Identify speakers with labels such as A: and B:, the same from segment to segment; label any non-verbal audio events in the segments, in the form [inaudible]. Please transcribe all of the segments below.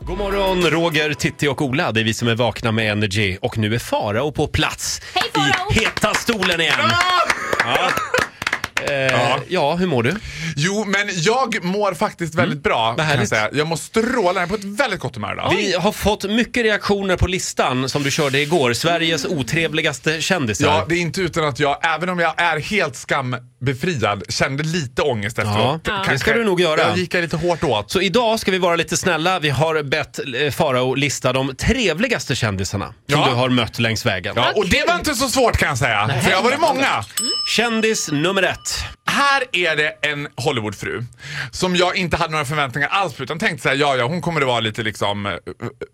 A: God morgon, Roger, Titti och Ola. Det är vi som är vakna med Energy. Och nu är Farao på plats
B: Hej, Farao!
A: i heta stolen igen. Ja. Eh, ja. hur mår du?
C: Jo, men jag mår faktiskt väldigt bra. Kan jag,
A: Mm. härligt.
C: säga. jag mår strålande, jag är på ett väldigt gott humör idag.
A: Vi har fått mycket reaktioner på listan som du körde igår. Sveriges otrevligaste kändisar.
C: Ja, det är inte utan att jag, även om jag är helt skambefriad, kände lite ångest efteråt.
A: Ja, det ska du nog göra.
C: Jag gick lite hårt åt.
A: Så idag ska vi vara lite snälla. Vi har bett eh, Farao lista de trevligaste kändisarna
C: Ja.
A: som du har mött längs vägen.
C: Ja, och det var inte så svårt kan jag säga, för jag har varit många.
A: Kändis nummer ett.
C: Här är det en Hollywoodfru som jag inte hade några förväntningar alls på utan tänkte såhär, ja ja hon kommer att vara lite liksom eh,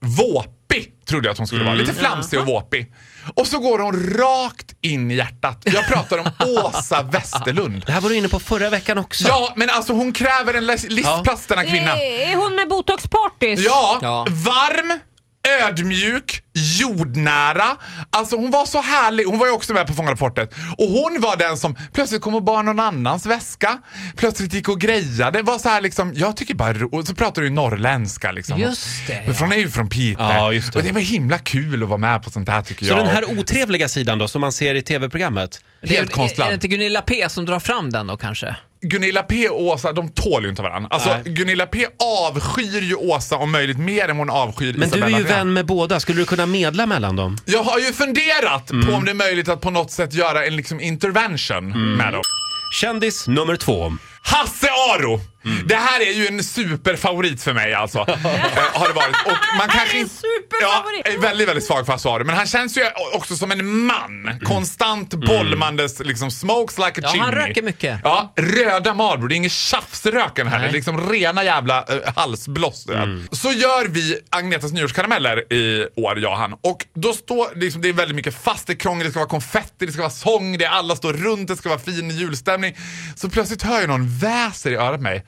C: våpig trodde jag att hon skulle vara. Lite flamsig och våpig. Och så går hon rakt in i hjärtat. Jag pratar om Åsa Westerlund.
A: Det här var du inne på förra veckan också.
C: Ja men alltså hon kräver en lis- listplats denna kvinna.
B: Eh, Är, är hon med botoxpartys?
C: Ja,
D: Ja.
C: varm, ödmjuk, jordnära. Alltså hon var så härlig. Hon var ju också med på Fångarna på fortet. Och hon var den som plötsligt kom och bar någon annans väska. Plötsligt gick och grejade. Var så här liksom, jag tycker bara ro- Och så pratar du ju norrländska liksom.
D: Just det,
C: För hon är ju från Piteå.
A: Ja, just det.
C: Och det var himla kul att vara med på sånt här tycker
A: Så
C: jag.
A: den här otrevliga sidan då, som man ser i tv-programmet.
C: Helt
D: Är det
C: konstlat.
D: inte Gunilla P som drar fram den då kanske?
C: Gunilla P och Åsa, de tål ju inte varandra. Alltså
A: Nej.
C: Gunilla P avskyr ju Åsa om möjligt mer än hon avskyr
A: Men du
C: Isabella
A: är ju
C: Lövén.
A: vän med båda, skulle du kunna medla mellan dem?
C: Jag har ju funderat på om det är möjligt att på något sätt göra en liksom intervention med dem.
A: Kändis nummer två.
C: Hasse Aro! Det här är ju en superfavorit för mig alltså. Eh, har det varit. Och man kanske
B: är en
C: inte-
B: superfavorit.
C: Ja, är väldigt, väldigt svag för Hasse Aro. Men han känns ju också som en man. Konstant bolmandes, liksom smokes like a
D: Ja,
C: chimney.
D: han röker mycket.
C: Ja, röda Marlboro. Det är ingen tjafsröken här. Det är liksom rena jävla eh, halsbloss. du vet. Så gör vi Agnetas nyårskarameller i år, jag och han. Och då står liksom, det är väldigt mycket fast, det är krångel, det ska vara konfetti, det ska vara sång, det är alla står runt, det ska vara fin julstämning. Så plötsligt hör jag någon väser i örat på mig.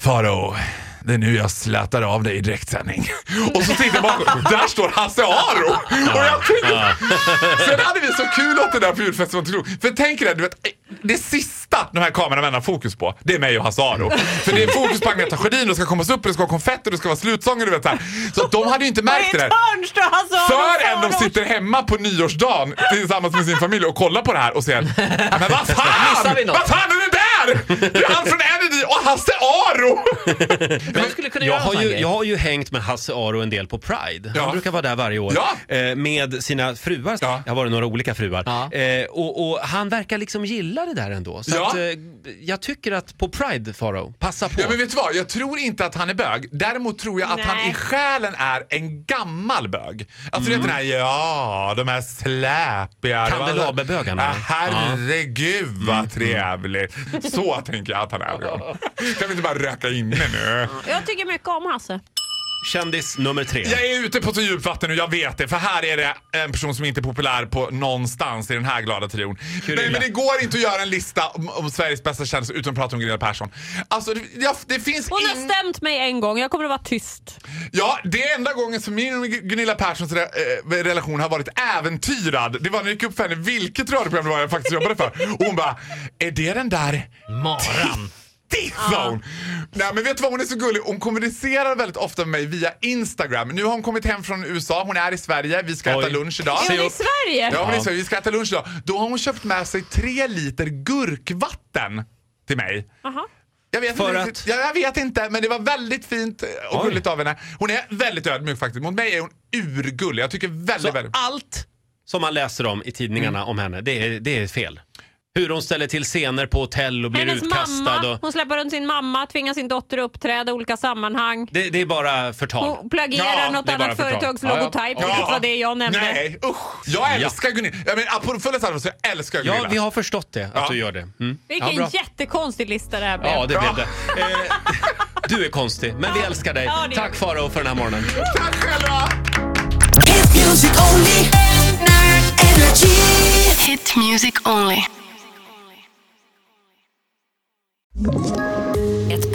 C: Faro, det är nu jag slätar av dig i direktsändning. Och så tittar jag bakom, där står Hasse Aro! Och jag tänkte, sen hade vi så kul åt det där på julfesten. som var För tänk er det, du vet, det sista de här kameramännen har fokus på, det är mig och Hasse Aro. För det är fokus på Agneta Sjödin, det ska kommas upp, och det ska vara konfetti, och det ska vara slutsånger, du vet så här. Så de hade ju inte märkt det där.
B: hörn står han så
C: Förrän de sitter hemma på nyårsdagen tillsammans med sin familj och kollar på det här och säger Men vad fan!
D: Missar vi något?"
C: Vad fan är det där? Det är han från Energy och Hasse Aro!
D: Men skulle
A: Jag
D: kunna göra en
A: har,
D: sån
A: ju,
D: grej.
A: jag har ju hängt med Hasse Aro en del på Pride. Han
C: Ja.
A: brukar vara där varje år
C: Ja.
A: eh, med sina fruar.
C: Ja.
A: Jag har varit några olika fruar.
D: Ja.
A: Eh, och, och han verkar liksom gilla det där ändå. Så
C: Ja.
A: att, eh, jag tycker att på Pride, Faro, passa på.
C: Ja, men vet du vad? Jag tror inte att han är bög. Däremot tror jag att
B: Nej.
C: han i själen är en gammal bög.
A: Mm.
C: Alltså du vet den här, ja, de här släpiga...
A: Kandelaberbögarna. Mm.
C: Ja, herregud vad trevligt. Så
A: [laughs]
C: tänker jag att han är. Kan vi inte bara röka inne nu?
B: Jag tycker mycket om Hasse.
A: Kändis nummer tre.
C: Jag är ute på så djupt vatten nu, jag vet det. För här är det en person som inte är populär på någonstans i den här glada trion. Nej, men det går inte att göra en lista om, om Sveriges bästa kändisar utan att prata om Gunilla Persson. Alltså, det, jag, det finns
B: Hon har
C: in-
B: stämt mig en gång, jag kommer att vara tyst.
C: Ja, det är enda gången som min och Gunilla Perssons re, eh, relation har varit äventyrad. Det var när jag gick upp för henne vilket radioprogram det var jag faktiskt jobbade för. Och hon bara, är det den där
D: Maran.
C: Tiff sa hon. Nej men vet du vad, hon är så gullig. Hon kommunicerar väldigt ofta med mig via Instagram. Nu har hon kommit hem från USA, hon är i Sverige, vi ska
A: Oj.
C: äta lunch idag.
B: Är hon i
A: Alltså,
B: Sverige?
C: Ja, hon är i Sverige, vi ska äta lunch idag. Då har hon köpt med sig tre liter gurkvatten till mig.
B: Aha.
C: Jag vet,
A: För
C: inte,
A: att-
C: riktigt. Ja, jag vet inte, men det var väldigt fint och
A: Oj.
C: gulligt av henne. Hon är väldigt ödmjuk faktiskt. Mot mig är hon urgullig. Jag tycker väldigt,
A: Så
C: väldigt...
A: allt som man läser om i tidningarna
C: Mm.
A: om henne, det är, det är fel. Hur hon ställer till scener på hotell och blir
B: Hennes
A: utkastad.
B: mamma,
A: Och,
B: hon släpper runt sin mamma, tvingar sin dotter att uppträda i olika sammanhang.
A: det, det är bara förtal.
B: Hon plagierar
C: Ja,
B: något
A: det är bara
B: annat
A: förtal.
B: företags
A: Ja, ja.
B: logotyp,
C: Ja.
B: vilket var det jag nämnde.
C: Nej, usch! Jag älskar Gunilla. Jag menar, på fullaste allvar så älskar jag Gunilla.
A: Ja, vi har förstått det, att
C: Ja.
A: du gör det. Mm.
B: Vilken
A: Ja, bra.
B: jättekonstig lista det här blev.
A: Ja, det
C: Bra.
A: blev det. Eh, du är konstig, men vi älskar dig.
B: Ja, det gör
A: Tack Farao för den här morgonen.
C: Tack själva!
E: Hit music only. Energy.
F: Hit music only.
G: Ett